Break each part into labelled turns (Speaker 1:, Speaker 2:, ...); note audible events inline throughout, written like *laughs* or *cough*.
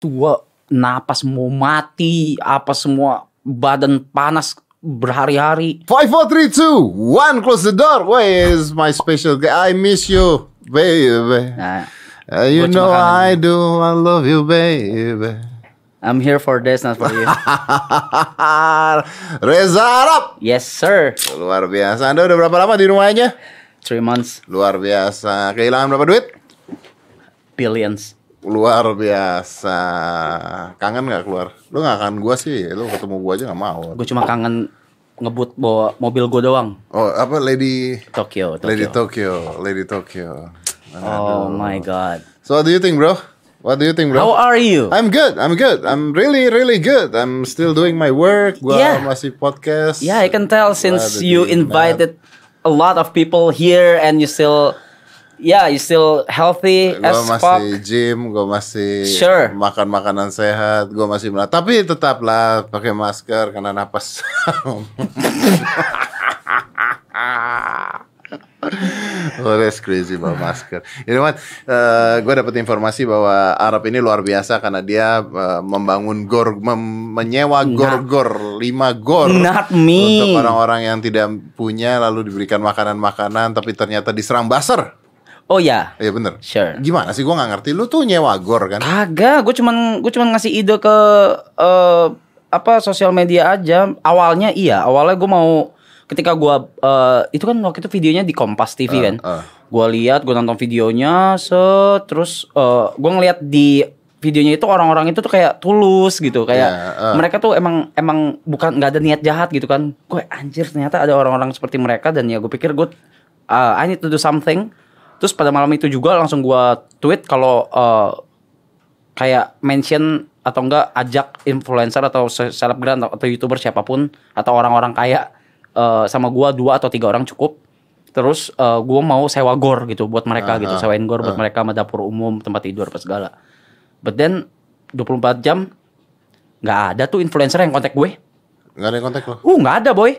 Speaker 1: tua, napas mau mati, apa semua badan panas berhari-hari.
Speaker 2: Five, four, three, two, one. Close the door. Where is my special guy? I miss you, baby.
Speaker 1: Nah,
Speaker 2: Uh, you
Speaker 1: Gua cuma
Speaker 2: know
Speaker 1: kangen.
Speaker 2: I do. I love you, baby. *laughs*
Speaker 1: I'm here for this, not for *laughs* you.
Speaker 2: Reza Arab.
Speaker 1: yes, sir.
Speaker 2: Luar biasa. Anda udah berapa lama di rumahnya?
Speaker 1: Three months,
Speaker 2: Luar biasa. Kehilangan berapa duit?
Speaker 1: billions.
Speaker 2: Luar biasa. Kangen nggak keluar? Lu nggak kangen gua sih. Lu ketemu gua aja nggak mau.
Speaker 1: Gue cuma kangen ngebut bawa mobil gue doang.
Speaker 2: Oh apa Lady
Speaker 1: Tokyo, Tokyo.
Speaker 2: Lady Tokyo, Lady Tokyo.
Speaker 1: Oh my god.
Speaker 2: So what do you think, bro? What do you think, bro?
Speaker 1: How are you?
Speaker 2: I'm good. I'm good. I'm really, really good. I'm still doing my work. Gua
Speaker 1: Yeah.
Speaker 2: masih podcast.
Speaker 1: Yeah, I can tell since
Speaker 2: Glad that
Speaker 1: you
Speaker 2: you
Speaker 1: invited a lot of people here and you still yeah, you still healthy
Speaker 2: Gua
Speaker 1: as fuck.
Speaker 2: masih gym, gua masih
Speaker 1: Sure.
Speaker 2: makan makanan sehat, gua masih melat. Tapi tetaplah pakai masker karena napas. *laughs* Oh, that's crazy bawa masker. You know what? Eh, gue dapat informasi bahwa Arab ini luar biasa karena dia eh, membangun gor, mem- menyewa gor-gor lima gor
Speaker 1: Nah. Not me.
Speaker 2: untuk orang-orang yang tidak punya lalu diberikan makanan-makanan tapi ternyata diserang baser.
Speaker 1: Oh ya.
Speaker 2: Iya bener.
Speaker 1: Sure.
Speaker 2: Gimana sih gue nggak ngerti. Lu tuh nyewa gor kan?
Speaker 1: Kagak, gue cuman gue cuman ngasih ide ke eh, apa sosial media aja. Awalnya iya, awalnya gue mau ketika gua eh, itu kan waktu itu videonya di Kompas TV kan.
Speaker 2: eh.
Speaker 1: Gua lihat, gue nonton videonya, set terus eh, gua ngeliat di videonya itu orang-orang itu tuh kayak tulus gitu, kayak
Speaker 2: Ya, eh.
Speaker 1: mereka tuh emang emang bukan nggak ada niat jahat gitu kan. Gue anjir ternyata ada orang-orang seperti mereka dan ya gue pikir gue uh, I need to do something. Terus pada malam itu juga langsung gue tweet kalau uh, kayak mention atau enggak ajak influencer atau se- selebgram atau, atau youtuber siapapun atau orang-orang kaya eh, sama gua dua atau tiga orang cukup terus eh, gua mau sewa gor gitu buat mereka gitu sewain gor buat mereka sama dapur umum tempat tidur apa segala but then 24 jam nggak ada tuh influencer yang kontak gue
Speaker 2: Gak ada yang kontak lo.
Speaker 1: uh nggak ada boy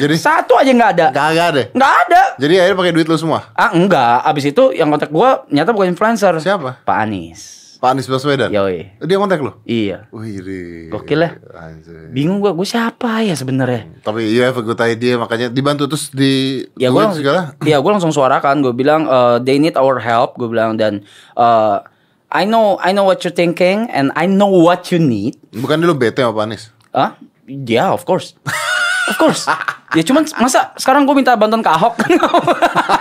Speaker 2: Jadi
Speaker 1: satu aja nggak ada
Speaker 2: kagak deh.
Speaker 1: nggak ada
Speaker 2: Jadi akhirnya pakai duit lu semua.
Speaker 1: ah enggak abis itu yang kontak gua nyata bukan influencer
Speaker 2: Siapa?
Speaker 1: Pak Anies
Speaker 2: Pak Anies Baswedan.
Speaker 1: yoi
Speaker 2: Dia kontak lu.
Speaker 1: iya
Speaker 2: Wih, Ri.
Speaker 1: Gokil ya.
Speaker 2: Anjir.
Speaker 1: bingung gua gue siapa ya sebenarnya
Speaker 2: Tapi you have a good idea makanya dibantu terus di
Speaker 1: ya gue
Speaker 2: tweet
Speaker 1: langsung
Speaker 2: segala. *laughs*
Speaker 1: ya gue langsung suarakan gue bilang eh, they need our help gue bilang dan eh, I know I know what you're thinking and I know what you need
Speaker 2: Bukan dulu bete sama Pak Anies.
Speaker 1: ah yeah of
Speaker 2: *laughs*
Speaker 1: course of course ya cuman masa sekarang gue minta bantuan ke Ahok *laughs*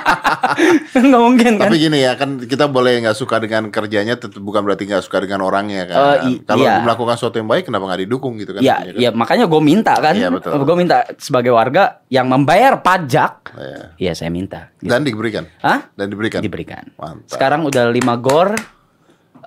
Speaker 1: nggak mungkin kan
Speaker 2: Tapi gini ya kan kita boleh nggak suka dengan kerjanya tetap bukan berarti nggak suka dengan orangnya kan.
Speaker 1: Eh, i-
Speaker 2: Kalau
Speaker 1: iya.
Speaker 2: melakukan sesuatu yang baik kenapa nggak didukung gitu kan?
Speaker 1: ya
Speaker 2: artinya kan?
Speaker 1: ya makanya gue minta kan
Speaker 2: Iya, betul.
Speaker 1: gue minta sebagai warga yang membayar pajak
Speaker 2: Iya.
Speaker 1: ya saya minta
Speaker 2: Dan diberikan.
Speaker 1: Hah?
Speaker 2: Dan
Speaker 1: Ah.
Speaker 2: diberikan.
Speaker 1: diberikan.
Speaker 2: Mantap.
Speaker 1: Sekarang udah lima gor,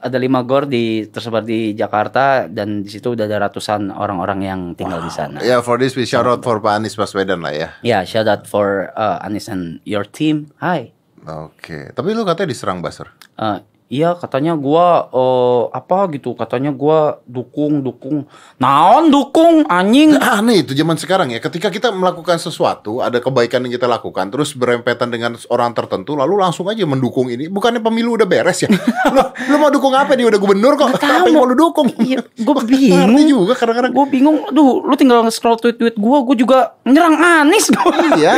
Speaker 1: ada lima gor di tersebar di Jakarta dan di situ udah ada ratusan orang-orang yang tinggal di sana.
Speaker 2: Ya for this we shout out for Pak Anies Baswedan lah ya.
Speaker 1: Ya, shout out for uh, Anis and your team. Hai.
Speaker 2: Oke. Tapi lu katanya diserang Baser.
Speaker 1: Eh, iya katanya gua eh, apa gitu katanya gua dukung dukung naon dukung anjing
Speaker 2: *clears throat* aneh itu zaman sekarang ya ketika kita melakukan sesuatu ada kebaikan yang kita lakukan terus berempetan dengan orang tertentu lalu langsung aja mendukung ini bukannya pemilu udah beres ya *laughs* lu, lu mau dukung apa dia udah gubernur kok apa yang mau lu dukung *laughs*
Speaker 1: Iya, gue
Speaker 2: Ngerti
Speaker 1: bingung
Speaker 2: juga kadang-kadang
Speaker 1: gue bingung aduh lu tinggal nge-scroll tweet-tweet gue gue juga nyerang Anis gua.
Speaker 2: Iya.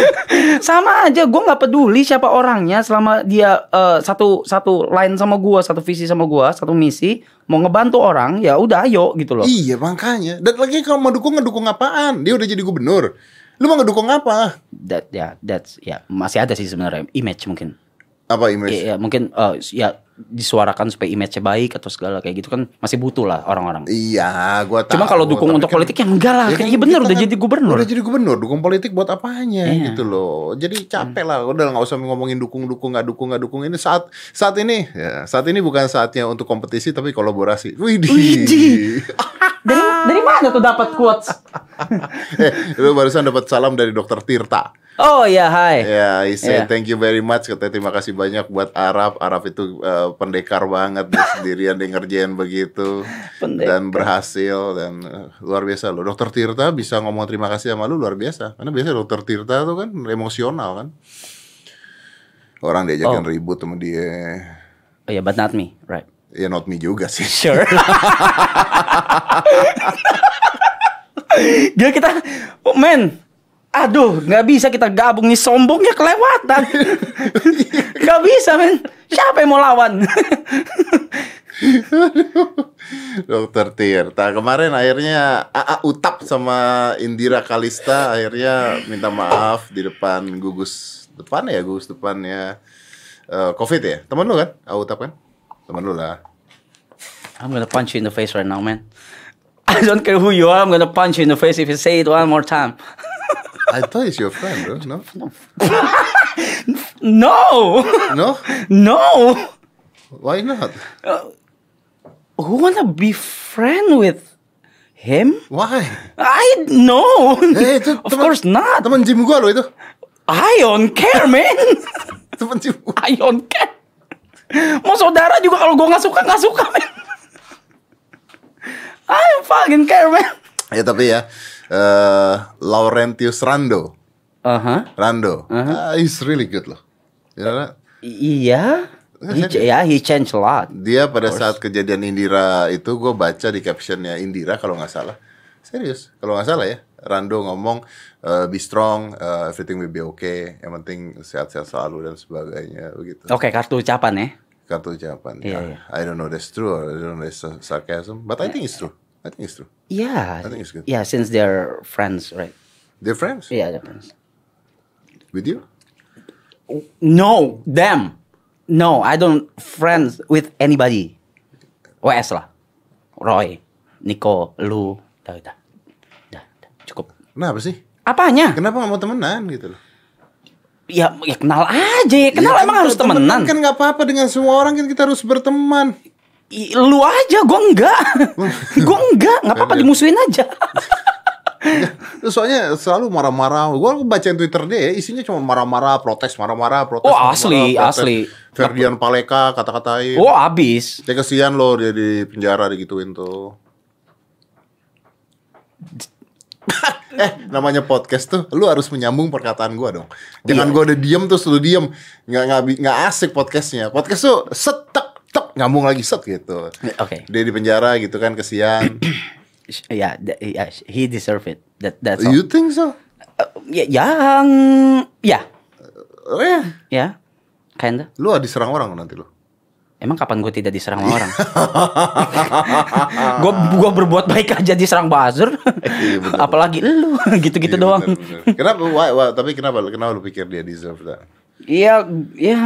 Speaker 1: sama aja gue nggak peduli siapa orangnya selama dia eh, satu satu line sama gue satu visi sama gue satu misi mau ngebantu orang ya udah ayo gitu loh
Speaker 2: iya makanya dan lagi kalau mau dukung ngedukung apaan dia udah jadi gubernur lu mau ngedukung apa
Speaker 1: that ya that's ya masih ada sih sebenarnya image mungkin
Speaker 2: apa
Speaker 1: ya,
Speaker 2: image
Speaker 1: ya, mungkin eh, ya disuarakan supaya image-nya baik atau segala kayak gitu kan masih butuh lah orang-orang
Speaker 2: iya gua tahu
Speaker 1: cuma kalau dukung
Speaker 2: tapi
Speaker 1: untuk
Speaker 2: kan-
Speaker 1: politik ya enggak lah
Speaker 2: Ya kan
Speaker 1: iya bener
Speaker 2: kita
Speaker 1: udah
Speaker 2: kan-
Speaker 1: jadi gubernur
Speaker 2: Udah jadi gubernur, dukung politik buat apanya
Speaker 1: Iya. Hmm.
Speaker 2: gitu loh. Jadi capek lah, udah nggak usah ngomongin dukung-dukung nggak dukung nggak dukung ini saat saat ini ya, saat ini bukan saatnya untuk kompetisi tapi kolaborasi. Widih.
Speaker 1: Widih. dari dari mana tuh dapat quotes
Speaker 2: *laughs* eh, lu barusan dapat salam dari Dokter Tirta.
Speaker 1: oh ya *laughs* hai
Speaker 2: Ya, I say
Speaker 1: Iya.
Speaker 2: thank you very much. Katanya terima kasih banyak buat Arab. Arab itu eh, pendekar banget dia sendirian dia ngerjain begitu
Speaker 1: Pendekar.
Speaker 2: dan berhasil dan eh, luar biasa loh. Dokter Tirta bisa ngomong terima kasih sama lu luar biasa. Karena biasa Dokter Tirta tuh kan emosional kan. Orang diajakin ribut sama dia.
Speaker 1: Oh ya, iya, but not me, right?
Speaker 2: Ya not me juga sih.
Speaker 1: Sure. *laughs* Gila kita, oh, men. Aduh, nggak bisa kita gabung nih sombongnya kelewatan. *laughs* Nggak bisa, men. Siapa yang mau lawan? *laughs*
Speaker 2: Dokter Tirta kemarin akhirnya AA Utap sama Indira Kalista akhirnya minta maaf di depan gugus depan ya gugus depannya eh, COVID ya teman lu kan AA Utap kan teman lu lah
Speaker 1: I'm gonna punch you in the face right now, man. I don't care who you are. I'm gonna punch you in the face if you say it one more time.
Speaker 2: I thought it's your friend bro no
Speaker 1: No, *laughs*
Speaker 2: no
Speaker 1: no. Uh,
Speaker 2: why not
Speaker 1: Who wanna be friend with him?
Speaker 2: why
Speaker 1: I no.
Speaker 2: Eh, itu
Speaker 1: *laughs* of
Speaker 2: teman-
Speaker 1: course not.
Speaker 2: teman gym gua lo itu
Speaker 1: I don't care, man.
Speaker 2: teman gym gua.
Speaker 1: *laughs* I don't care. Mau saudara juga kalau gua nggak suka nggak suka, man. I don't fucking care, man.
Speaker 2: ya tapi ya eh Laurentius Rando
Speaker 1: Uh huh.
Speaker 2: Rando Ah, he's really good loh Ya, you know that?
Speaker 1: Iya. He, ch- yeah, he changed a lot.
Speaker 2: Dia pada saat kejadian Indira itu gue baca di captionnya Indira kalau nggak salah. Serius, kalau nggak salah ya. Rando ngomong eh, be strong, eh, everything will be okay. Yang penting sehat-sehat selalu dan sebagainya begitu.
Speaker 1: Oke, kartu ucapan ya.
Speaker 2: Kartu ucapan.
Speaker 1: Oh. Iya,
Speaker 2: Ah,
Speaker 1: iya.
Speaker 2: I don't know that's true or I don't know that's sa- sarcasm, but I think it's true. I think it's true.
Speaker 1: Iya.
Speaker 2: I think it's good.
Speaker 1: Yeah, since they're friends, right?
Speaker 2: They're friends
Speaker 1: Yeah, they're friends.
Speaker 2: with you.
Speaker 1: No, them. No, I don't friends with anybody. WS lah. Roy, Nico, lu, dah, dah. Dah, dah, cukup.
Speaker 2: Kenapa sih?
Speaker 1: Apanya?
Speaker 2: Kenapa nggak mau temenan gitu loh?
Speaker 1: Ya, ya kenal aja, ya kenal
Speaker 2: Ya kan,
Speaker 1: emang harus temenan.
Speaker 2: Kan nggak apa-apa dengan semua orang kan kita harus berteman.
Speaker 1: I- Lu aja, gua
Speaker 2: *laughs*
Speaker 1: enggak. gua enggak, enggak apa-apa
Speaker 2: Iya.
Speaker 1: dimusuhin aja.
Speaker 2: Terus soalnya selalu marah-marah. Gue bacain Twitter dia, isinya cuma marah-marah, protes, marah-marah, protes.
Speaker 1: Oh,
Speaker 2: marah-marah,
Speaker 1: asli, asli.
Speaker 2: Ferdian Paleka kata-katain.
Speaker 1: oh, abis.
Speaker 2: Dia kesian loh dia di penjara digituin
Speaker 1: *laughs*
Speaker 2: tuh. eh namanya podcast tuh lu harus menyambung perkataan gua dong
Speaker 1: Iya.
Speaker 2: jangan gua udah diem terus lu diem nggak nggak bi- nggak asik podcastnya podcast tuh set tek tek nyambung lagi set gitu
Speaker 1: Oke.
Speaker 2: dia di penjara gitu kan
Speaker 1: *clears throat*
Speaker 2: kesian
Speaker 1: Ya, th- ya, he deserve it. That that's all.
Speaker 2: you think so
Speaker 1: Eh, ya, yang ya,
Speaker 2: oh ya
Speaker 1: ya. Kinda.
Speaker 2: lu diserang orang nanti lu
Speaker 1: Emang kapan gue tidak diserang sama
Speaker 2: *laughs*
Speaker 1: orang? gue gua berbuat baik aja diserang buzzer.
Speaker 2: Iya, bener.
Speaker 1: Apalagi lu *laughs* gitu-gitu
Speaker 2: Iya,
Speaker 1: doang.
Speaker 2: bener, bener. Kenapa? Why, why- tapi kenapa? Kenapa lu pikir dia deserve that?
Speaker 1: Iya, iya.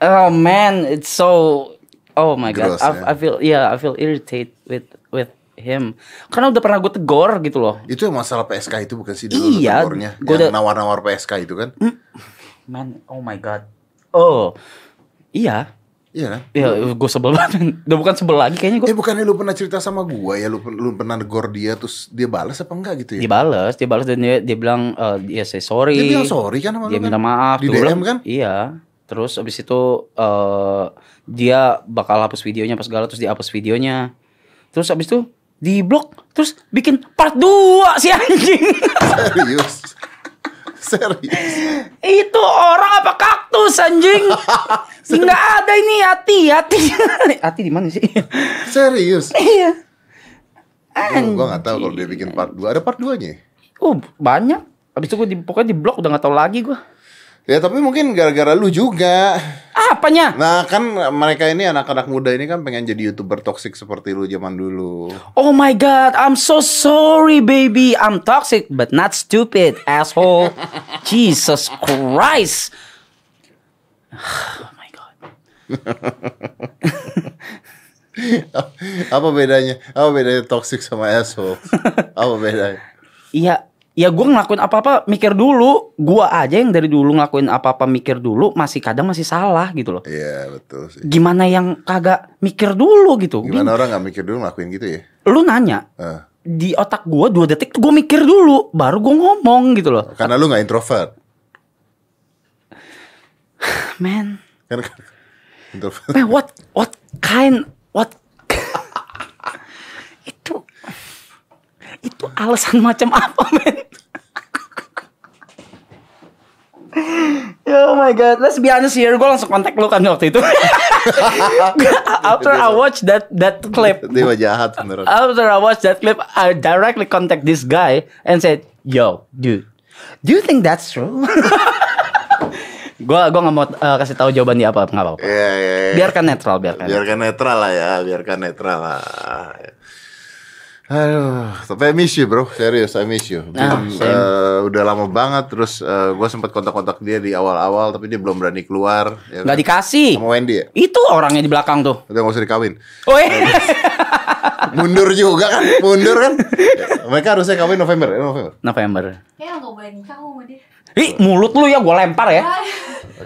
Speaker 1: Oh man, it's so Oh my
Speaker 2: Gross,
Speaker 1: god, I,
Speaker 2: ya?
Speaker 1: I feel yeah, I feel irritated with with him. Karena udah pernah gue tegor gitu loh.
Speaker 2: Itu yang masalah PSK itu bukan sih dulu
Speaker 1: Iya,
Speaker 2: tegurnya?
Speaker 1: gua
Speaker 2: yang
Speaker 1: udah- Hmm.
Speaker 2: nawar-nawar PSK itu kan?
Speaker 1: Man, oh my god. Oh. Iya.
Speaker 2: Iya kan?
Speaker 1: Ya, gue sebel *laughs* banget. Udah bukan sebel lagi kayaknya gue
Speaker 2: Eh bukannya lu pernah cerita sama gua ya lu, lu pernah negor dia terus dia balas apa enggak gitu ya?
Speaker 1: dibales dibales dan dia, dia bilang eh, dia say sorry
Speaker 2: Dia bilang sorry kan sama lu
Speaker 1: dia
Speaker 2: kan?
Speaker 1: minta maaf
Speaker 2: Di
Speaker 1: Gua
Speaker 2: DM
Speaker 1: bilang,
Speaker 2: kan?
Speaker 1: iya terus abis itu eh dia bakal hapus videonya pas segala terus dihapus videonya terus abis itu di blok terus bikin part 2 si anjing *laughs*
Speaker 2: Serius. *laughs* Serius.
Speaker 1: itu orang apa kaktus
Speaker 2: *laughs*
Speaker 1: anjing nggak ada ini hati hati *laughs* hati di mana sih
Speaker 2: Serius.
Speaker 1: iya
Speaker 2: Oh, gua nggak tahu kalau dia bikin part 2. Ada part ya? 2-nya.
Speaker 1: oh banyak abis itu gue di, pokoknya di blok udah nggak tahu lagi gue
Speaker 2: Ya tapi mungkin gara-gara lu juga.
Speaker 1: apanya
Speaker 2: Nah kan mereka ini anak-anak muda ini kan pengen jadi youtuber toksik seperti lu zaman dulu.
Speaker 1: Oh my god, I'm so sorry, baby. I'm toxic, but not stupid, *laughs* asshole. Jesus Christ. Oh my god.
Speaker 2: apa bedanya? Apa bedanya toxic sama asshole? apa bedanya?
Speaker 1: Iya, ya gue ngelakuin apa-apa mikir dulu. Gua aja yang dari dulu ngelakuin apa-apa mikir dulu, masih kadang masih salah gitu loh.
Speaker 2: Iya betul sih.
Speaker 1: Gimana yang kagak mikir dulu gitu?
Speaker 2: Gimana orang nggak mikir dulu ngelakuin gitu ya?
Speaker 1: Lu nanya
Speaker 2: Eh,
Speaker 1: di otak gua dua detik tuh gue mikir dulu, baru gue ngomong gitu loh.
Speaker 2: karena lu nggak introvert.
Speaker 1: Man,
Speaker 2: Kan introvert.
Speaker 1: man, Eh, what what kind what itu itu alasan macam apa men? oh my god, let's be honest here, gue langsung kontak lu kan waktu itu. *laughs* After I watch that that clip,
Speaker 2: Dia mah jahat beneran.
Speaker 1: after I watched that clip, I directly contact this guy and said, "Yo, dude, do you think that's true?" *laughs* gua gua nggak mau eh, kasih tahu jawaban dia apa nggak apa-apa.
Speaker 2: Iya, iya, iya.
Speaker 1: Biarkan netral, biarkan.
Speaker 2: Biarkan netral lah ya, biarkan netral lah. Aduh, tapi I miss you bro, serius I miss you.
Speaker 1: Ah,
Speaker 2: Belum,
Speaker 1: same.
Speaker 2: eh, udah lama banget, terus gue sempat kontak-kontak dia di awal-awal, tapi dia belum berani keluar. ya
Speaker 1: Nggak
Speaker 2: kan?
Speaker 1: dikasih.
Speaker 2: Sama Wendy ya?
Speaker 1: Itu orangnya di belakang tuh. Oh, iya.
Speaker 2: Udah gak usah dikawin.
Speaker 1: Oi.
Speaker 2: Mundur juga kan, mundur kan. Mereka harusnya kawin November, ya November.
Speaker 1: *laughs* November.
Speaker 3: Kayaknya nggak boleh nikah sama dia.
Speaker 1: Ih, mulut lu ya gua lempar ya.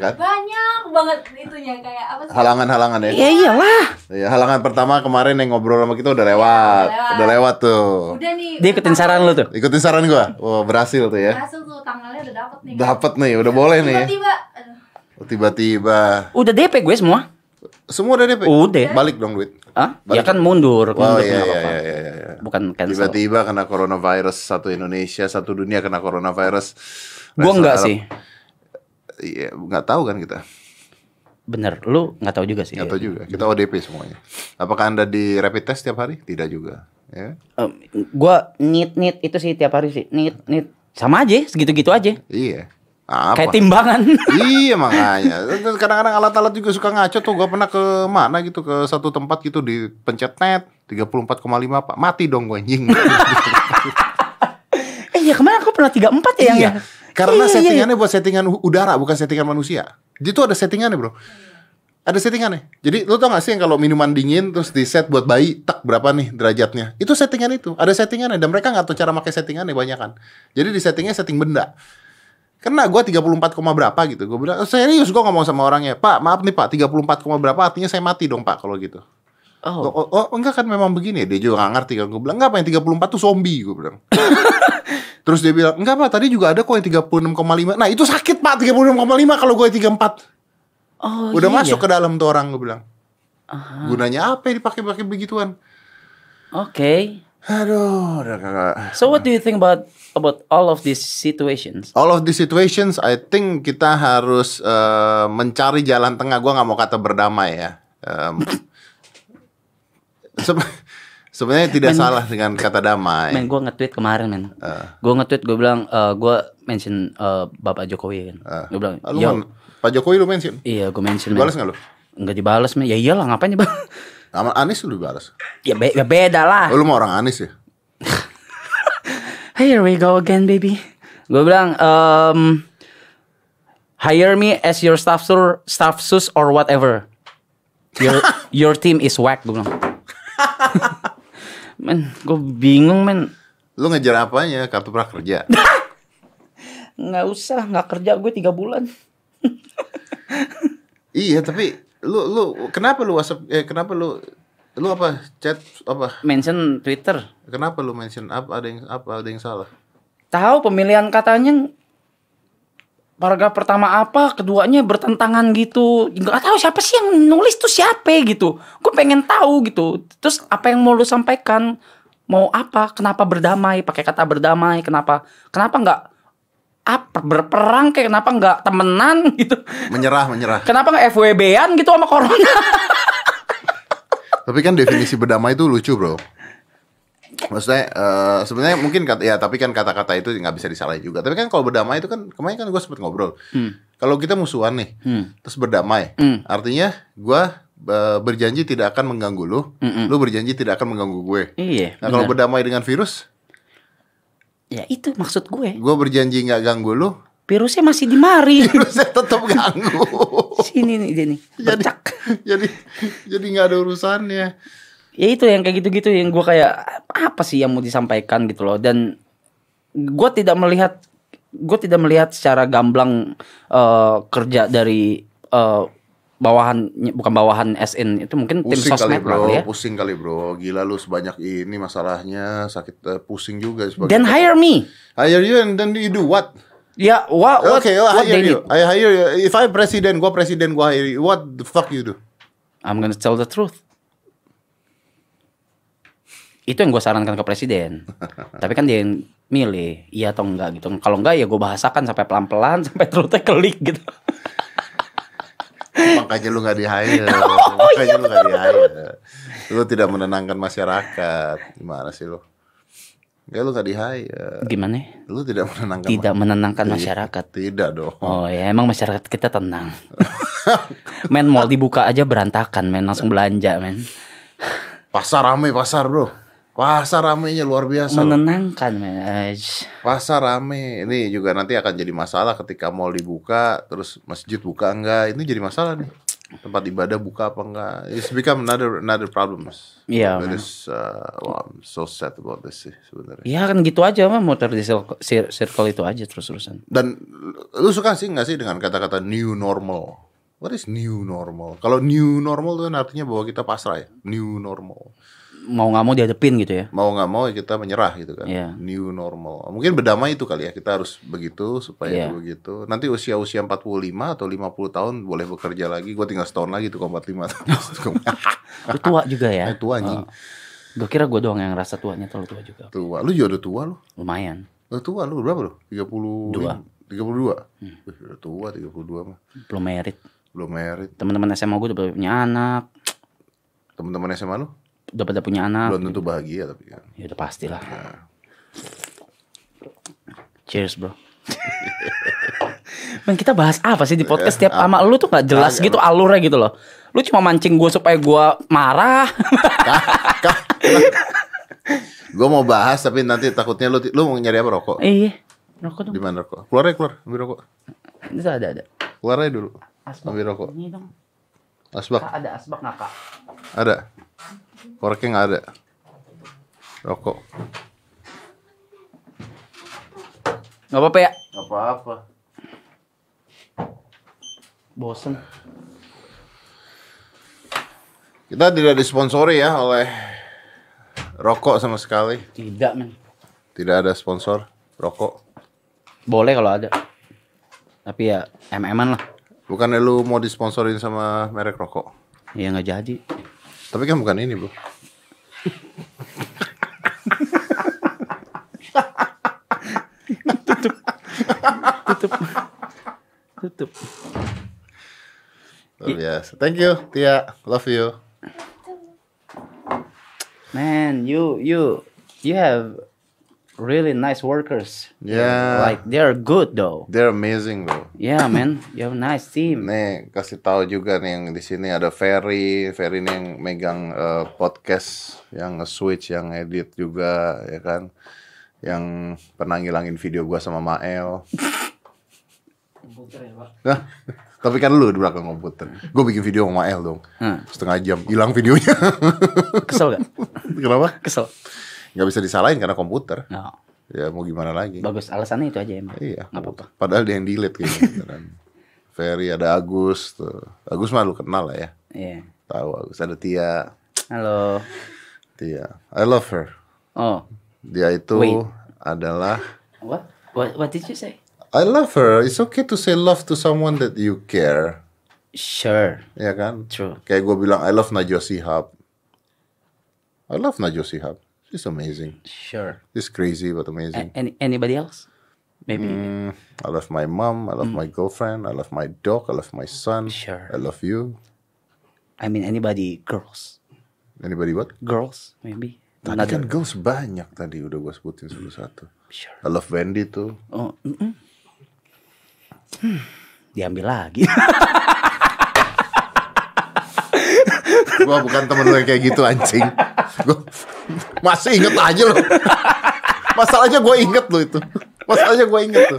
Speaker 2: Kan?
Speaker 3: *laughs* Banyak banget itunya kayak apa sih?
Speaker 2: Halangan-halangan ya.
Speaker 3: Iya,
Speaker 1: Ya iyalah.
Speaker 2: Ya, halangan pertama kemarin yang ngobrol sama kita udah lewat.
Speaker 3: Udah lewat.
Speaker 2: Udah lewat tuh.
Speaker 3: Udah nih.
Speaker 1: Dia ikutin saran lu tuh.
Speaker 2: Ikutin saran gua. Wah, berhasil tuh ya.
Speaker 3: Hasil tuh tanggalnya udah dapet nih.
Speaker 2: Dapat nih, udah boleh nih ya.
Speaker 3: Tiba-tiba. aduh.
Speaker 2: Tiba-tiba
Speaker 1: Udah DP gue semua.
Speaker 2: semua udah DP.
Speaker 1: Udah.
Speaker 2: Balik dong duit.
Speaker 1: Hah? Ya
Speaker 2: Balik.
Speaker 1: kan mundur,
Speaker 2: Wow,
Speaker 1: mundur nggak
Speaker 2: iya, iya,
Speaker 1: apa-apa.
Speaker 2: iya, iya, iya, iya.
Speaker 1: Bukan cancel.
Speaker 2: Tiba-tiba kena coronavirus satu Indonesia, satu dunia kena coronavirus.
Speaker 1: Gua
Speaker 2: Restoran
Speaker 1: enggak
Speaker 2: Arab-
Speaker 1: sih.
Speaker 2: Iya, nggak tahu kan kita.
Speaker 1: Bener, lu nggak tahu juga sih.
Speaker 2: Nggak tahu juga. Kita ODP semuanya. Apakah Anda di rapid test tiap hari? Tidak juga. Ya.
Speaker 1: Em, gua nit nit itu sih tiap hari sih nit nit sama aja segitu-gitu aja
Speaker 2: Iya. Apa?
Speaker 1: kayak timbangan *laughs*
Speaker 2: iya makanya Terus kadang-kadang alat-alat juga suka ngaco tuh gue pernah ke mana gitu ke satu tempat gitu di pencet net 34,5 pak mati dong gue anjing *laughs*
Speaker 1: eh ya kemarin aku pernah tiga empat ya yang
Speaker 2: iya.
Speaker 1: ya Iya,
Speaker 2: Karena
Speaker 1: iya,
Speaker 2: settingannya buat settingan u- udara bukan settingan manusia. Itu ada settingannya, Bro. Ada settingannya. Jadi lu tau gak sih yang kalau minuman dingin terus di set buat bayi tak berapa nih derajatnya? Itu settingan itu. Ada settingannya dan mereka nggak tahu cara pakai settingannya banyak kan. Jadi di settingnya setting benda. Kena gua 34, koma berapa gitu. Gue bilang, serius gua ngomong sama orangnya. Pak, maaf nih Pak, 34, koma berapa artinya saya mati dong Pak kalau gitu. Oh,
Speaker 1: oh
Speaker 2: oh, oh, enggak kan memang begini. Dia juga gak ngerti kan. Gue bilang, enggak apa yang 34 tuh zombie. Gue
Speaker 1: *laughs*
Speaker 2: bilang. Terus dia bilang, enggak pak tadi juga ada kok yang 36,5. Nah itu sakit pak 36,5 kalau gue 34.
Speaker 1: oh
Speaker 2: Udah
Speaker 1: iya
Speaker 2: masuk
Speaker 1: ya.
Speaker 2: ke dalam tuh orang gue bilang. Gunanya apa yang dipakai-pakai begituan?
Speaker 1: oke
Speaker 2: Aduh, udah kagak.
Speaker 1: so what do you think about about all of these situations
Speaker 2: All of the situations, I think kita harus eh, mencari jalan tengah. Gua nggak mau kata berdamai ya. Em, *laughs* se- sebenarnya tidak salah dengan kata damai.
Speaker 1: men gue nge-tweet kemarin men
Speaker 2: Eh.
Speaker 1: gue nge-tweet gue bilang eh gue mention eh, bapak jokowi kan
Speaker 2: Ah.
Speaker 1: gue bilang
Speaker 2: Ah, lu
Speaker 1: yo
Speaker 2: mana? Pak Jokowi lu mention.
Speaker 1: iya gue mention
Speaker 2: Dibalas nggak lu?
Speaker 1: nggak dibalas men ya iyalah ngapain ya bang
Speaker 2: Sama Anis lu dibalas.
Speaker 1: *laughs* ya, be- ya beda lah
Speaker 2: Oh, lu mau orang Anis ya?
Speaker 1: Here we go again, baby. Gue bilang, um, hire me as your staff sur, staff sus or whatever.
Speaker 2: *laughs*
Speaker 1: Your your team is whack, gue bilang. men, gue bingung men.
Speaker 2: Lu ngejar apanya? Kartu
Speaker 1: *laughs*
Speaker 2: prakerja.
Speaker 1: Nggak usah, nggak kerja gue tiga bulan.
Speaker 2: iya, tapi lu lu kenapa lu WhatsApp eh kenapa lu lu apa chat apa
Speaker 1: Mention Twitter.
Speaker 2: kenapa lu mention apa ada yang apa ada yang salah
Speaker 1: Tahu pemilihan katanya paragraf pertama apa, keduanya bertentangan gitu. Nggak tahu siapa sih yang nulis tuh siapa gitu. Gue pengen tahu gitu. Terus apa yang mau lu sampaikan? Mau apa? Kenapa berdamai? Pakai kata berdamai. Kenapa? Kenapa nggak apa berperang kayak kenapa nggak temenan *laughs* gitu?
Speaker 2: menyerah menyerah
Speaker 1: Kenapa nggak FWB-an gitu sama corona?
Speaker 2: tapi kan definisi berdamai itu lucu bro maksudnya eh, sebenarnya mungkin kata ya tapi kan kata-kata itu nggak bisa disalahin juga tapi kan kalau berdamai itu kan kemarin kan gue sempet ngobrol kalau kita musuhan nih terus berdamai artinya gue berjanji tidak akan mengganggu lu lu berjanji tidak akan mengganggu gue
Speaker 1: Iya.
Speaker 2: nah kalau berdamai dengan virus
Speaker 1: Ya itu maksud gue.
Speaker 2: gue berjanji nggak ganggu lu *laughs*
Speaker 1: Virusnya masih di mari.
Speaker 2: virusnya tetap ganggu *laughs*
Speaker 1: Sini nih dia nih.
Speaker 2: jadi
Speaker 1: Bercak.
Speaker 2: jadi jadi nggak ada urusannya
Speaker 1: ya itu yang kayak gitu-gitu yang gua kayak apa sih yang mau disampaikan gitu loh dan gua tidak melihat gue tidak melihat secara gamblang eh, kerja dari eh, bawahan bukan bawahan SN itu mungkin tim
Speaker 2: Pusing kali
Speaker 1: sosmed lah
Speaker 2: bro,
Speaker 1: kali ya
Speaker 2: pusing kali bro. Gila lu sebanyak ini masalahnya sakit eh, pusing juga sebagai.
Speaker 1: then hire me
Speaker 2: Hire you and then you do what?
Speaker 1: ya wah what,
Speaker 2: Oke, okay, I
Speaker 1: what
Speaker 2: hire
Speaker 1: they
Speaker 2: you.
Speaker 1: need?
Speaker 2: I hire you. If I president, gua presiden, gua hire you. What the fuck you do?
Speaker 1: I'm gonna tell the truth itu yang gue sarankan ke
Speaker 2: *laughs*
Speaker 1: presiden tapi kan dia yang milih iya atau enggak *laughs* gitu kalau enggak ya gue bahasakan sampai pelan-pelan sampai terutnya kelik gitu
Speaker 2: Makanya lu gak di *laughs* hire. Makanya lu gak di hire. Lu tidak menenangkan masyarakat. Gimana sih lu? Ya lu gak di hire.
Speaker 1: Gimana? ya?
Speaker 2: Lu tidak menenangkan
Speaker 1: Tidak menenangkan
Speaker 2: Iya,
Speaker 1: masyarakat.
Speaker 2: Tidak dong.
Speaker 1: Oh ya, emang masyarakat kita tenang.
Speaker 2: *laughs*
Speaker 1: men mall dibuka aja berantakan, men langsung belanja, men.
Speaker 2: Pasar rame pasar bro. Pasar ramenya luar biasa. loh.
Speaker 1: Menenangkan, men. eh, Aj.
Speaker 2: Pasar rame. Ini juga nanti akan jadi masalah ketika mall dibuka, terus masjid buka enggak. Ini jadi masalah nih. Tempat ibadah buka apa enggak. It's become another another problem.
Speaker 1: Iya,
Speaker 2: That
Speaker 1: man.
Speaker 2: is, uh, wow, I'm so sad about this sih sebenarnya.
Speaker 1: Ya kan gitu aja, mah muter di circle, sir- circle itu aja terus-terusan.
Speaker 2: Dan lu suka sih nggak sih dengan kata-kata new normal? What is new normal? Kalau new normal itu kan artinya bahwa kita pasrah ya. New normal.
Speaker 1: Mau nggak mau dihadepin gitu ya.
Speaker 2: Mau nggak mau ya kita menyerah gitu kan.
Speaker 1: Iya.
Speaker 2: New normal. Mungkin berdamai itu kali ya. Kita harus begitu supaya
Speaker 1: Iya.
Speaker 2: itu begitu. Nanti usia-usia 45 atau 50 tahun boleh bekerja lagi. Gue tinggal setahun lagi tuh kalau 45
Speaker 1: *laughs*
Speaker 2: tahun.
Speaker 1: Lu
Speaker 2: *laughs*
Speaker 1: tua juga ya.
Speaker 2: Eh, tua anjing.
Speaker 1: Gue kira gue doang yang rasa tuanya terlalu tua juga.
Speaker 2: Tua. Lu juga udah tua lu.
Speaker 1: Lumayan.
Speaker 2: Udah tua lu berapa lu? 30
Speaker 1: Dua. Hmm.
Speaker 2: 32. Wih, udah tua 32 mah.
Speaker 1: Belum merit.
Speaker 2: Belum merit.
Speaker 1: Teman-teman SMA gue udah pada punya anak,
Speaker 2: Teman-teman SMA lu
Speaker 1: udah pada punya anak.
Speaker 2: belum tentu bahagia tapi kan.
Speaker 1: Ya udah pastilah. Cheers, bro. *laughs* Men kita bahas apa sih di podcast setiap sama lu tuh nggak jelas gitu alurnya gitu loh. Lu cuma mancing gue supaya gue marah. *laughs*
Speaker 2: Gue mau bahas tapi nanti takutnya lu lu mau nyari apa rokok?
Speaker 1: Eh, Iya. Rokok dong.
Speaker 2: Di mana rokok? Keluar aja keluar, ambil rokok.
Speaker 1: Itu ada ada.
Speaker 2: Keluar aja dulu.
Speaker 1: Asbak.
Speaker 2: Ambil rokok.
Speaker 1: Ini dong.
Speaker 2: Asbak
Speaker 1: Kak, ada asbak nggak kak?
Speaker 2: ada. Koreknya nggak ada. Rokok.
Speaker 1: Gak apa-apa ya.
Speaker 2: Gak apa-apa.
Speaker 1: Bosen.
Speaker 2: Kita tidak disponsori ya oleh rokok sama sekali.
Speaker 1: Tidak men.
Speaker 2: Tidak ada sponsor rokok.
Speaker 1: Boleh kalau ada. Tapi ya mm-an lah.
Speaker 2: Bukannya lu mau disponsorin sama merek rokok?
Speaker 1: Ya nggak jadi.
Speaker 2: Tapi kan bukan ini, Bro.
Speaker 1: Tutup. Tutup.
Speaker 2: Luar biasa. Thank you, Tia. Love you.
Speaker 1: Man, you you you have really nice workers.
Speaker 2: Yeah.
Speaker 1: Like they're good though.
Speaker 2: They're amazing, bro.
Speaker 1: Yeah,
Speaker 2: *laughs*
Speaker 1: man. You have a nice team.
Speaker 2: Nih kasih tahu juga nih yang di sini ada Ferry, Ferry nih yang megang eh, podcast, yang nge-switch, yang edit juga ya kan. Yang pernah ngilangin video gua sama Mael.
Speaker 1: ya,
Speaker 2: Nah, tapi kan lu di belakang komputer. Gue bikin video sama Mael dong.
Speaker 1: Hmm.
Speaker 2: Setengah jam hilang videonya. *laughs*
Speaker 1: Kesel gak?
Speaker 2: Kenapa?
Speaker 1: Kesel.
Speaker 2: Nggak bisa disalahin karena komputer.
Speaker 1: No.
Speaker 2: Ya mau gimana lagi?
Speaker 1: Bagus. Alasannya itu aja emang.
Speaker 2: Iya,
Speaker 1: Nggak apa-apa.
Speaker 2: Padahal dia yang delete kayaknya.
Speaker 1: *laughs*
Speaker 2: beneran. Ferry ada Agus tuh. Agus mah lu kenal lah ya.
Speaker 1: Iya.
Speaker 2: Tahu Agus ada Tia.
Speaker 1: Halo.
Speaker 2: Tia. I love her.
Speaker 1: Oh.
Speaker 2: Dia itu
Speaker 1: Wait.
Speaker 2: adalah
Speaker 1: What? What what did you say?
Speaker 2: I love her. It's okay to say love to someone that you care.
Speaker 1: Sure.
Speaker 2: Ya kan?
Speaker 1: True.
Speaker 2: Kayak gue bilang I love Najwa Shihab. I love Najwa Shihab. She's amazing.
Speaker 1: Sure.
Speaker 2: She's crazy
Speaker 1: A-
Speaker 2: but amazing.
Speaker 1: any anybody else? Maybe.
Speaker 2: Mm, I love my mom. I love my girlfriend. I love my dog. I love my
Speaker 1: Hmm.
Speaker 2: son.
Speaker 1: Sure.
Speaker 2: I love you.
Speaker 1: I mean anybody girls.
Speaker 2: Anybody what?
Speaker 1: Girls maybe.
Speaker 2: Tadi kan girls banyak tadi udah gue sebutin satu-satu.
Speaker 1: Sure.
Speaker 2: I love Wendy tuh.
Speaker 1: Oh. mm-mm. Hmm, Diambil lagi. *laughs*
Speaker 2: Gua bukan temen lu yang kayak gitu anjing. Gua masih inget aja lo. Masalahnya gue inget lo itu. Masalahnya gue inget lo.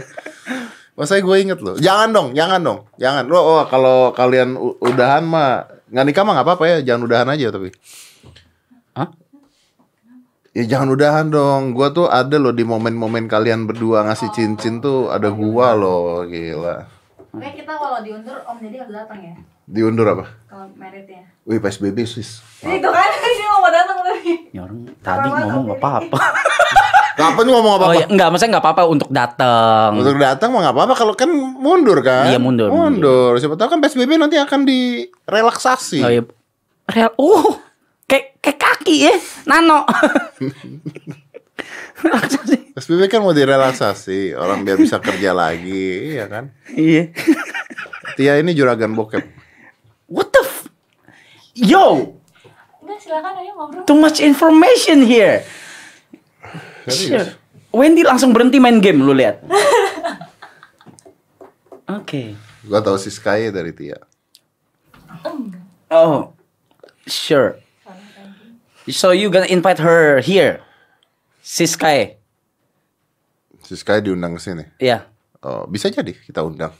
Speaker 2: Masalahnya gue inget lo. Jangan dong, jangan dong, jangan. Lo oh, kalau kalian u- udahan mah nggak nikah mah nggak apa-apa ya. Jangan udahan aja tapi.
Speaker 1: Hah?
Speaker 2: Ya jangan udahan dong. Gua tuh ada loh di momen-momen kalian berdua ngasih cincin tuh ada gua loh, gila.
Speaker 3: Oke kita kalau diundur Om Deddy harus datang ya
Speaker 2: Diundur apa?
Speaker 3: kalau meritnya.
Speaker 2: Wih, PSBB Swiss.
Speaker 3: Itu kan *laughs* dia mau datang tadi.
Speaker 1: Ini orang tadi ngomong nggak apa-apa.
Speaker 2: Kapan ngomong apa-apa?
Speaker 1: Oh ya, enggak, maksudnya nggak apa-apa untuk datang.
Speaker 2: Hmm. Untuk datang mah nggak apa-apa kalau kan mundur kan?
Speaker 1: Iya, mundur,
Speaker 2: Mundur. Siapa tahu kan PSBB nanti akan direlaksasi.
Speaker 1: Oh iya. Real. Uh. Kayak kayak kaki ya. Nano. *laughs* Relaksasi.
Speaker 2: PSBB kan mau direlaksasi, orang biar bisa kerja lagi, iya kan?
Speaker 1: Iya.
Speaker 2: Tia ini juragan bokep.
Speaker 1: Yo,
Speaker 3: Enggak silakan ayo ngobrol.
Speaker 1: too much information here. Sure.
Speaker 2: Serius?
Speaker 1: Wendy langsung berhenti main game lu
Speaker 2: *laughs*
Speaker 1: lihat. Oke.
Speaker 2: Gua tahu si Sky dari Tia.
Speaker 1: Oh. Sure. So you gonna invite her here? Si Sky.
Speaker 2: Si Sky diundang ke sini.
Speaker 1: Ya.
Speaker 2: Oh, bisa jadi kita undang.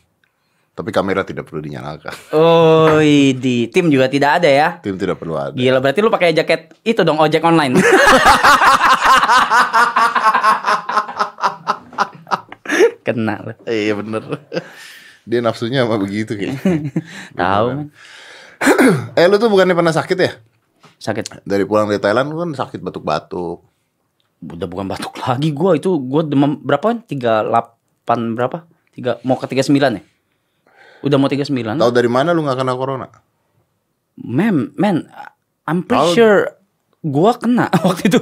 Speaker 2: Tapi kamera tidak perlu dinyalakan.
Speaker 1: Oh, di tim juga tidak ada ya.
Speaker 2: Tim tidak perlu ada.
Speaker 1: Gila berarti lu pakai jaket itu dong ojek online. *laughs* Kena lu.
Speaker 2: Eh, Iya bener. Dia nafsunya sama begitu kayaknya.
Speaker 1: Tahu man.
Speaker 2: eh lu tuh bukannya pernah sakit ya?
Speaker 1: sakit.
Speaker 2: Dari pulang dari Thailand lu kan sakit batuk-batuk.
Speaker 1: Udah bukan batuk lagi gua itu gua demam berapa? 38 berapa? 3 mau ke 39 ya? Udah mau 39.
Speaker 2: Tahu dari mana lu nggak kena corona?
Speaker 1: Mem, man, I'm pretty
Speaker 2: Tahu.
Speaker 1: sure gua kena *laughs* waktu itu.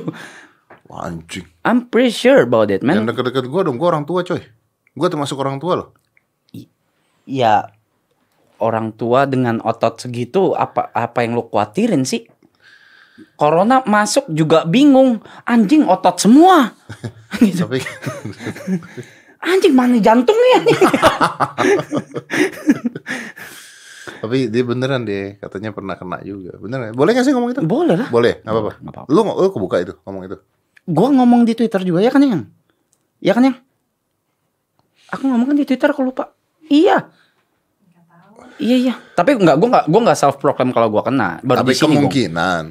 Speaker 2: Wah anjing.
Speaker 1: I'm pretty sure about it,
Speaker 2: Yang
Speaker 1: man.
Speaker 2: deket-deket gua dong, gua orang tua coy. Gua termasuk orang tua loh.
Speaker 1: Ya orang tua dengan otot segitu apa apa yang lu khawatirin sih? Corona masuk juga bingung, anjing otot semua. gitu.
Speaker 2: Tapi *laughs*
Speaker 1: Anjing mana jantungnya? *laughs*
Speaker 2: tapi dia beneran deh, katanya pernah kena juga. Beneran. ya? Boleh gak sih ngomong itu?
Speaker 1: Boleh lah.
Speaker 2: Boleh, nggak apa-apa.
Speaker 1: Nggak apa-apa.
Speaker 2: Lu lu kebuka itu ngomong itu.
Speaker 1: Gua ngomong di Twitter juga ya kan yang? Ya kan yang? Aku ngomong kan di Twitter aku lupa. Iya. Iya iya. Tapi nggak gua nggak gua nggak self proclaim kalau gua kena. Baru
Speaker 2: Tapi
Speaker 1: di sini gua.
Speaker 2: kemungkinan.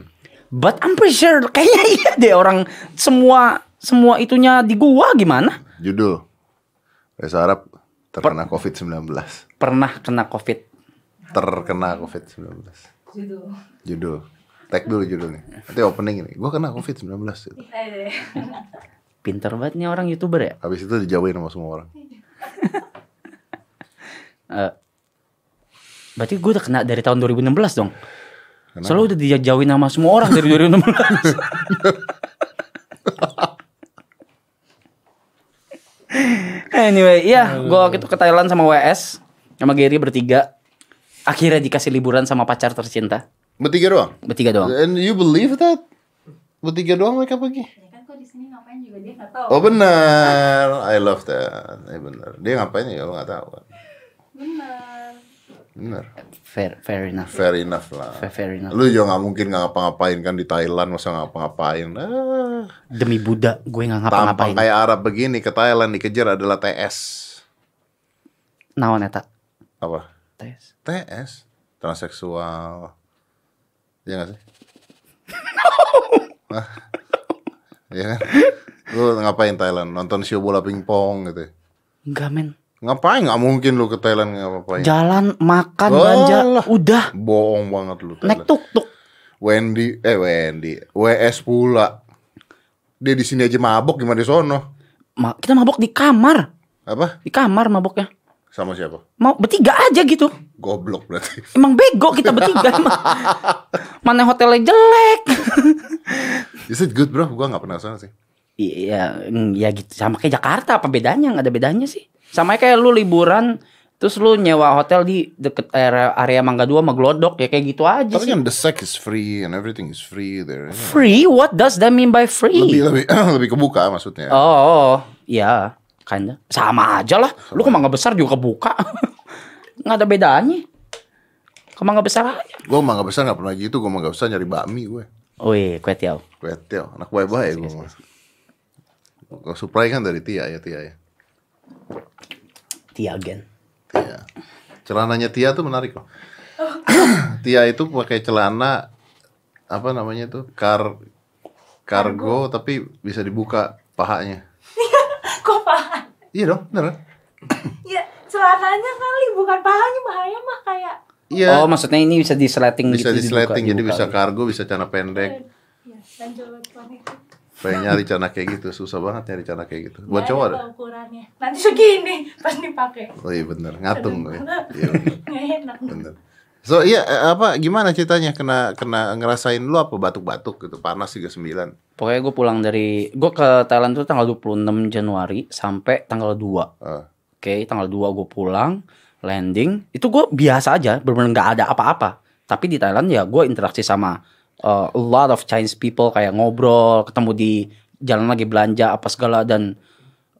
Speaker 1: But I'm pretty sure kayaknya iya deh orang semua semua itunya di gua gimana?
Speaker 2: Judul. Reza Arab terkena COVID-19.
Speaker 1: Pernah kena Covid.
Speaker 2: Terkena COVID-19.
Speaker 3: Gitu.
Speaker 2: Judul. Tag dulu judulnya. Nanti opening ini. Gua kena COVID-19 gitu.
Speaker 3: Eh deh. *laughs*
Speaker 1: Pinter banget nih orang YouTuber ya.
Speaker 2: Habis itu dijauhin sama semua orang.
Speaker 1: Eh, berarti gua udah kena dari tahun 2016 dong.
Speaker 2: Kenapa?
Speaker 1: Selalu udah dijauhin sama semua orang dari 2016. *laughs* anyway, iya, gua waktu itu ke Thailand sama WS, sama Gary bertiga. Akhirnya dikasih liburan sama pacar tercinta.
Speaker 2: Bertiga doang.
Speaker 1: Bertiga doang.
Speaker 2: And you believe that? Bertiga doang mereka pergi?
Speaker 3: Ya kan kok di sini ngapain juga dia nggak tahu.
Speaker 2: Oh benar, I love that. Eh benar. Dia ngapain ya lo nggak tahu kan?
Speaker 3: Benar.
Speaker 2: Benar.
Speaker 1: Fair, fair enough.
Speaker 2: Fair enough lah.
Speaker 1: Fair, fair enough.
Speaker 2: Lu juga nggak mungkin nggak ngapa-ngapain kan di Thailand masa ngapa-ngapain. Ah,
Speaker 1: Demi Buddha, gue nggak
Speaker 2: tampang
Speaker 1: ngapa-ngapain.
Speaker 2: kayak Arab begini ke Thailand dikejar adalah TS.
Speaker 1: Naon eta?
Speaker 2: Apa?
Speaker 1: Tes.
Speaker 2: TS transseksual. Iya nggak sih? Hah? *laughs* Iya kan? Lu ngapain Thailand? Nonton show bola pingpong gitu. ya?
Speaker 1: Enggak men.
Speaker 2: Ngapain? Nggak mungkin lu ke Thailand ngapain?
Speaker 1: Jalan, makan, belanja,
Speaker 2: Alah.
Speaker 1: udah.
Speaker 2: Bohong banget lu
Speaker 1: Naik
Speaker 2: Thailand.
Speaker 1: tuk-tuk.
Speaker 2: Wendy eh Wendy WS pula dia di sini aja mabok gimana di sono
Speaker 1: Ma- kita mabok di kamar.
Speaker 2: apa
Speaker 1: Di kamar maboknya.
Speaker 2: sama siapa
Speaker 1: Mau bertiga aja gitu.
Speaker 2: goblok berarti *laughs*
Speaker 1: Emang bego kita bertiga emang. Mana hotelnya jelek. *laughs*
Speaker 2: is it good bro gua nggak pernah sana sih
Speaker 1: Iya, mm, ya gitu. Sama kayak Jakarta, apa bedanya? Nggak ada bedanya sih. Sama kayak lu liburan, terus lu nyewa hotel di deket area, area Mangga Dua sama Glodok ya kayak gitu aja
Speaker 2: tapi
Speaker 1: sih.
Speaker 2: kan the sex is free and everything is free there
Speaker 1: Free? What does that mean by free?
Speaker 2: lebih lebih *clears throat* lebih kebuka maksudnya
Speaker 1: Oh, oh, ya, kinda. Sama aja lah. Lu ke Mangga Besar juga kebuka. *laughs* Nggak ada bedanya. Ke Mangga Besar aja.
Speaker 2: gua mah nggak besar nggak pernah gitu gua mah nggak besar nyari bakmi gue
Speaker 1: Wih, kue tiaw.
Speaker 2: Wetel, anak baik baik gue mah Gua supply kan dari Tia ya Tia ya
Speaker 1: Tiagen.
Speaker 2: Tia. Celananya Tia tuh menarik
Speaker 1: Oh.
Speaker 2: loh. *clears throat* Tia itu pakai celana apa namanya tuh kar kargo tapi bisa dibuka pahanya.
Speaker 3: Kok paham?
Speaker 2: Iya dong, bener. kan?
Speaker 3: Ya celananya kali bukan pahanya bahaya mah kayak
Speaker 2: Iya.
Speaker 1: Oh, maksudnya ini bisa disleting
Speaker 2: bisa
Speaker 1: gitu. dibuka-
Speaker 2: disleting jadi
Speaker 1: dibuka.
Speaker 2: bisa kargo, bisa celana pendek.
Speaker 3: ya dan jolot itu.
Speaker 2: Pengen nyari celana kayak gitu, susah banget nyari celana kayak gitu. Buat
Speaker 1: Iya,
Speaker 3: Nggak
Speaker 2: cowok
Speaker 3: ada
Speaker 2: ada.
Speaker 3: tuh ukurannya. Nanti segini *laughs* pas dipakai.
Speaker 2: Oh iya bener, ngatung gue. Iya bener,
Speaker 3: *laughs* Nggak enak.
Speaker 2: bener. So iya eh, apa gimana ceritanya kena kena ngerasain lu apa batuk-batuk gitu panas 39
Speaker 1: Pokoknya gue pulang dari gue ke Thailand tuh tanggal 26 Januari sampai tanggal 2. Oke,
Speaker 2: Ah.
Speaker 1: tanggal 2 gue pulang, landing. Itu gue biasa aja, bener-bener nggak ada apa-apa. Tapi di Thailand ya gue interaksi sama uh, a lot of Chinese people kayak ngobrol, ketemu di jalan lagi belanja apa segala dan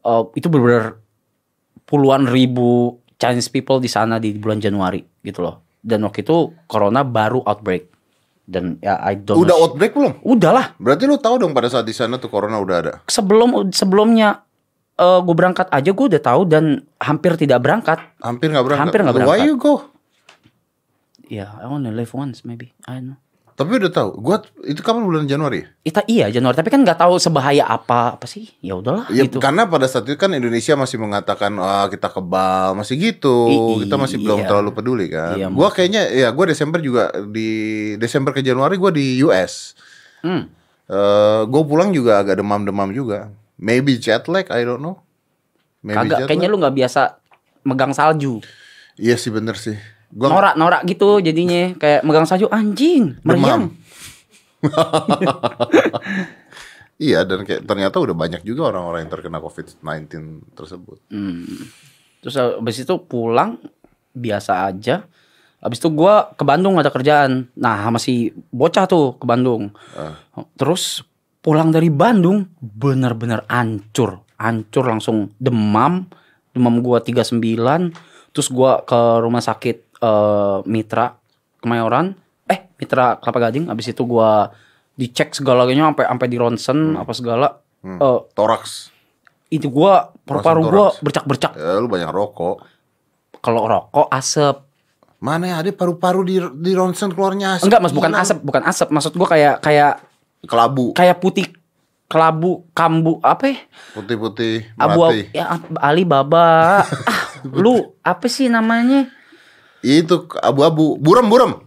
Speaker 1: uh, itu benar puluhan ribu Chinese people di sana di bulan Januari gitu loh. Dan waktu itu corona baru outbreak dan ya I don't
Speaker 2: Udah
Speaker 1: know-
Speaker 2: outbreak belum?
Speaker 1: udahlah
Speaker 2: Berarti lu tahu dong pada saat di sana tuh corona udah ada.
Speaker 1: sebelum sebelumnya gue berangkat aja gue udah tahu dan hampir tidak berangkat.
Speaker 2: Hampir nggak berangkat.
Speaker 1: Hampir nggak
Speaker 2: Why
Speaker 1: berangkat.
Speaker 2: you go?
Speaker 1: Ya, I only live once maybe. I don't know.
Speaker 2: Tapi udah tahu. Gua itu kapan bulan Januari?
Speaker 1: Ita iya Januari, tapi kan nggak tahu sebahaya apa apa sih. Ya udahlah
Speaker 2: Ya,
Speaker 1: gitu.
Speaker 2: karena pada saat itu kan Indonesia masih mengatakan "Ah, kita kebal, masih gitu.
Speaker 1: I-
Speaker 2: kita masih belum
Speaker 1: iya.
Speaker 2: terlalu peduli kan.
Speaker 1: Iya,
Speaker 2: gua kayaknya ya gua Desember juga di Desember ke Januari gua di US.
Speaker 1: Hmm.
Speaker 2: Eh gue pulang juga agak demam-demam juga. Maybe jet lag, I don't know. Maybe
Speaker 1: Kagak kayaknya lu nggak biasa megang salju.
Speaker 2: Iya sih bener sih. Gua
Speaker 1: Norak-norak gitu jadinya kayak megang salju anjing, meriang.
Speaker 2: *laughs* Iya dan kayak ternyata udah banyak juga orang-orang yang terkena COVID-19 tersebut.
Speaker 1: Hmm. Terus abis itu pulang biasa aja. Abis itu gua ke Bandung ada kerjaan. Nah, sama si bocah tuh ke Bandung.
Speaker 2: Ah.
Speaker 1: Terus pulang dari Bandung bener-bener ancur. Ancur langsung demam. Demam gua 39. Terus gua ke rumah sakit eh, Mitra Kemayoran. Eh, Mitra Kelapa Gading. Abis itu gua dicek segalanya sampai sampai di ronsen apa segala.
Speaker 2: Hmm.
Speaker 1: Eh,
Speaker 2: Toraks,
Speaker 1: itu gua paru-paru
Speaker 2: Langsung
Speaker 1: gua
Speaker 2: toraks.
Speaker 1: bercak-bercak
Speaker 2: ya, lu banyak rokok.
Speaker 1: kalau rokok asap.
Speaker 2: Mana ya ada paru-paru di di ronsen keluarnya asap?
Speaker 1: Enggak, Mas, bukan
Speaker 2: Gila.
Speaker 1: asap, bukan asap. Maksud gua kayak kayak
Speaker 2: Kelabu,
Speaker 1: kayak putih kelabu, kambu, apa ya?
Speaker 2: putih-putih,
Speaker 1: Abu
Speaker 2: melati.
Speaker 1: ya Ali
Speaker 2: *laughs*
Speaker 1: Baba. ah, lu apa sih namanya?
Speaker 2: Itu abu-abu, buram-buram,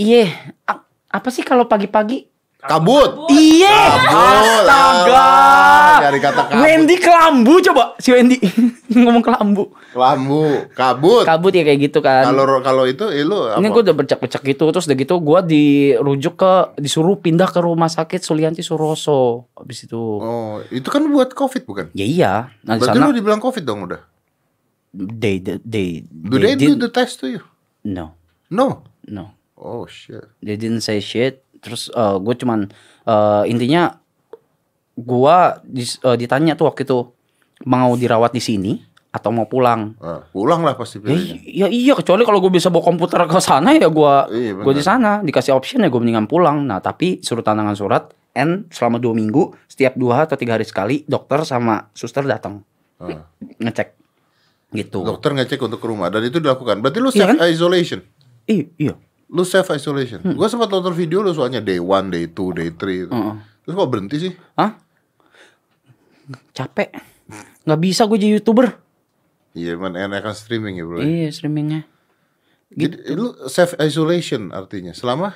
Speaker 1: Iye, a- apa sih kalau pagi-pagi?
Speaker 2: kabut.
Speaker 1: Iye,
Speaker 2: Kabut,
Speaker 1: astaga.
Speaker 2: alah, dari kata kabut.
Speaker 1: Wendy kelambu coba si Wendy *laughs* ngomong kelambu.
Speaker 2: Kelambu, kabut.
Speaker 1: Kabut ya kayak gitu kan.
Speaker 2: Kalau kalau itu, eh, lu
Speaker 1: Ini
Speaker 2: apa?
Speaker 1: gue udah bercak-bercak gitu Terus udah gitu gue dirujuk ke Disuruh pindah ke rumah sakit Sulianti Suroso Habis itu
Speaker 2: Oh, itu kan buat COVID bukan?
Speaker 1: Ya iya Nah di
Speaker 2: Berarti
Speaker 1: sana
Speaker 2: lu dibilang COVID dong udah.
Speaker 1: They They They,
Speaker 2: Do
Speaker 1: they
Speaker 2: they, do
Speaker 1: didn't-
Speaker 2: the test to you?
Speaker 1: No
Speaker 2: No.
Speaker 1: No
Speaker 2: Oh shit.
Speaker 1: They didn't say shit Terus gue cuman eh, Intinya Gue ditanya tuh waktu itu Mau dirawat di sini Atau mau pulang
Speaker 2: Ah, pulang lah pasti
Speaker 1: Ya,
Speaker 2: pilihnya.
Speaker 1: i- ya iya kecuali kalau gue bisa bawa komputer ke sana ya gue
Speaker 2: Iya,
Speaker 1: gue di sana dikasih option ya gue mendingan pulang. Nah tapi suruh tantangan surat and selama dua minggu setiap dua atau tiga hari sekali dokter sama suster datang
Speaker 2: Ah.
Speaker 1: ngecek gitu.
Speaker 2: Dokter ngecek untuk ke rumah dan itu dilakukan. Berarti lu
Speaker 1: Iya
Speaker 2: self
Speaker 1: kan?
Speaker 2: isolation.
Speaker 1: Iya iya.
Speaker 2: Lu self isolation. Gua sempat nonton video lu soalnya day 1, day 2, day 3.
Speaker 1: Heeh.
Speaker 2: Terus kok berhenti sih?
Speaker 1: Hah? Capek. Nggak bisa gue jadi youtuber.
Speaker 2: Iya, man, enakan streaming ya, Bro.
Speaker 1: Iya streamingnya. gitu.
Speaker 2: Jadi lu self isolation artinya selama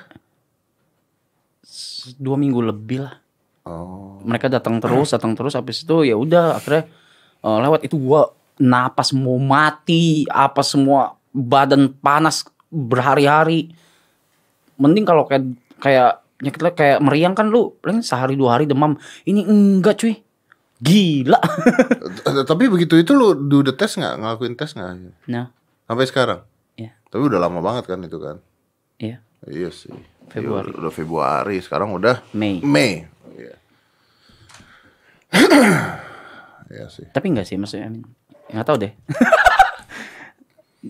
Speaker 1: S- Dua minggu lebih lah.
Speaker 2: Oh.
Speaker 1: Mereka datang terus datang terus habis itu ya udah akhirnya eh, lewat itu gua napas mau mati apa semua badan panas berhari-hari. mending kalau kayak kayak penyakit lain, kayak meriang kan lu paling sehari dua hari demam ini enggak cuy gila *laughs*
Speaker 2: Eh, Tapi begitu itu lu do the test nggak ngelakuin tes nggak
Speaker 1: nah
Speaker 2: sampai sekarang?
Speaker 1: Iya.
Speaker 2: Tapi udah lama banget kan itu kan?
Speaker 1: iya
Speaker 2: Iya sih.
Speaker 1: Februari.
Speaker 2: Iya, udah Februari, sekarang udah
Speaker 1: Mei
Speaker 2: Mei. Iya. *clears throat* Iya sih.
Speaker 1: tapi enggak sih maksudnya I mean, nggak tahu
Speaker 2: *laughs*
Speaker 1: deh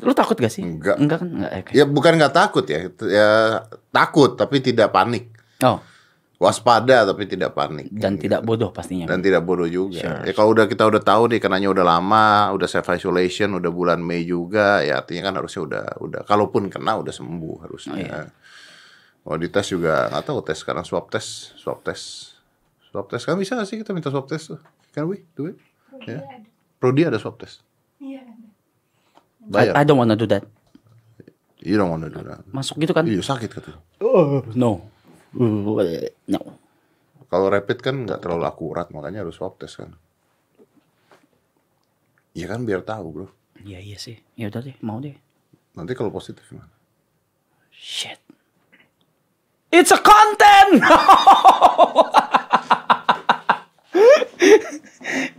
Speaker 1: lu takut gak sih
Speaker 2: Enggak.
Speaker 1: enggak kan enggak oke.
Speaker 2: Ya bukan nggak takut ya, T- ya takut tapi tidak panik,
Speaker 1: oh
Speaker 2: waspada tapi tidak panik.
Speaker 1: dan tidak bodoh pastinya
Speaker 2: Iya. Dan tidak bodoh juga.
Speaker 1: Sure.
Speaker 2: Ya kalau udah kita udah tahu nih kenanya udah lama, udah self isolation, udah bulan Mei juga, ya artinya kan harusnya udah udah kalaupun kena udah sembuh harusnya.
Speaker 1: Oh, iya.
Speaker 2: Kalau di tes juga nggak tahu tes sekarang swab tes, swab tes. Swab tes kan bisa nggak sih kita minta swab tes tuh? Can we do it? Ya. Prodi ada swab tes.
Speaker 3: Iya.
Speaker 1: I,
Speaker 2: Bayar.
Speaker 1: I don't wanna do that
Speaker 2: You don't wanna do that.
Speaker 1: masuk gitu kan
Speaker 2: Iya sakit katanya.
Speaker 1: no Uh, no
Speaker 2: Kalau rapid kan nggak terlalu akurat, makanya harus swab test kan. Iya kan biar tahu bro.
Speaker 1: iya iya sih ya udah deh mau deh
Speaker 2: Nanti kalau positif gimana?
Speaker 1: Shit. It's a content. *laughs*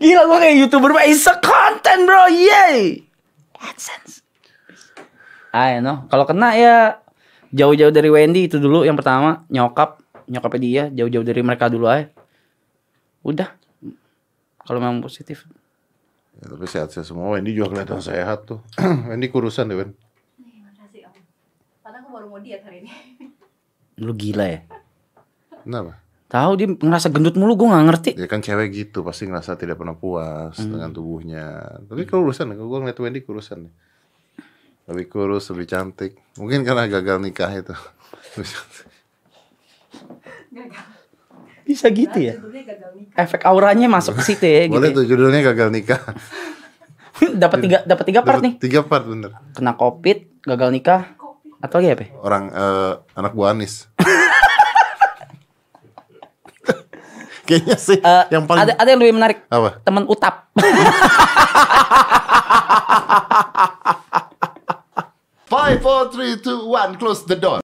Speaker 1: Gila gue kayak youtuber, bro. it's a content bro, yay. AdSense. I know. Ah, Kalau kena ya jauh-jauh dari Wendy itu dulu yang pertama nyokap nyokapnya dia jauh-jauh dari mereka dulu aja. Udah. Kalau memang positif.
Speaker 2: Ya, tapi sehat-sehat semua. Wendy juga kelihatan sehat tuh. *clears throat* Wendy kurusan deh, Wen.
Speaker 3: Nih, makasih om. Padahal aku baru mau diet hari ini. *laughs*
Speaker 1: Lu gila ya.
Speaker 2: Kenapa?
Speaker 1: Tahu dia ngerasa gendut mulu gue nggak ngerti.
Speaker 2: Ya kan cewek gitu pasti ngerasa tidak pernah puas
Speaker 1: Hmm.
Speaker 2: dengan tubuhnya. Tapi kurusan, gue ngeliat Wendy kurusan. deh. Lebih kurus, lebih cantik. Mungkin karena gagal nikah itu. *laughs*
Speaker 3: Gagal.
Speaker 1: Bisa gitu ya.
Speaker 3: Judulnya gagal nikah.
Speaker 1: Efek auranya masuk ke situ ya gitu.
Speaker 2: Boleh
Speaker 1: ya.
Speaker 2: tuh judulnya gagal nikah.
Speaker 1: Hmm, dapat tiga dapat tiga part nih.
Speaker 2: Tiga part bener.
Speaker 1: Kena covid, gagal nikah, atau lagi apa? ya?
Speaker 2: Orang eh, anak Bu
Speaker 1: *laughs*
Speaker 2: Anis. Kayaknya sih
Speaker 1: Eh,
Speaker 2: yang paling
Speaker 1: ada ada yang lebih menarik.
Speaker 2: apa?
Speaker 1: Temen utap.
Speaker 2: Five, four, three, two, one, close the door.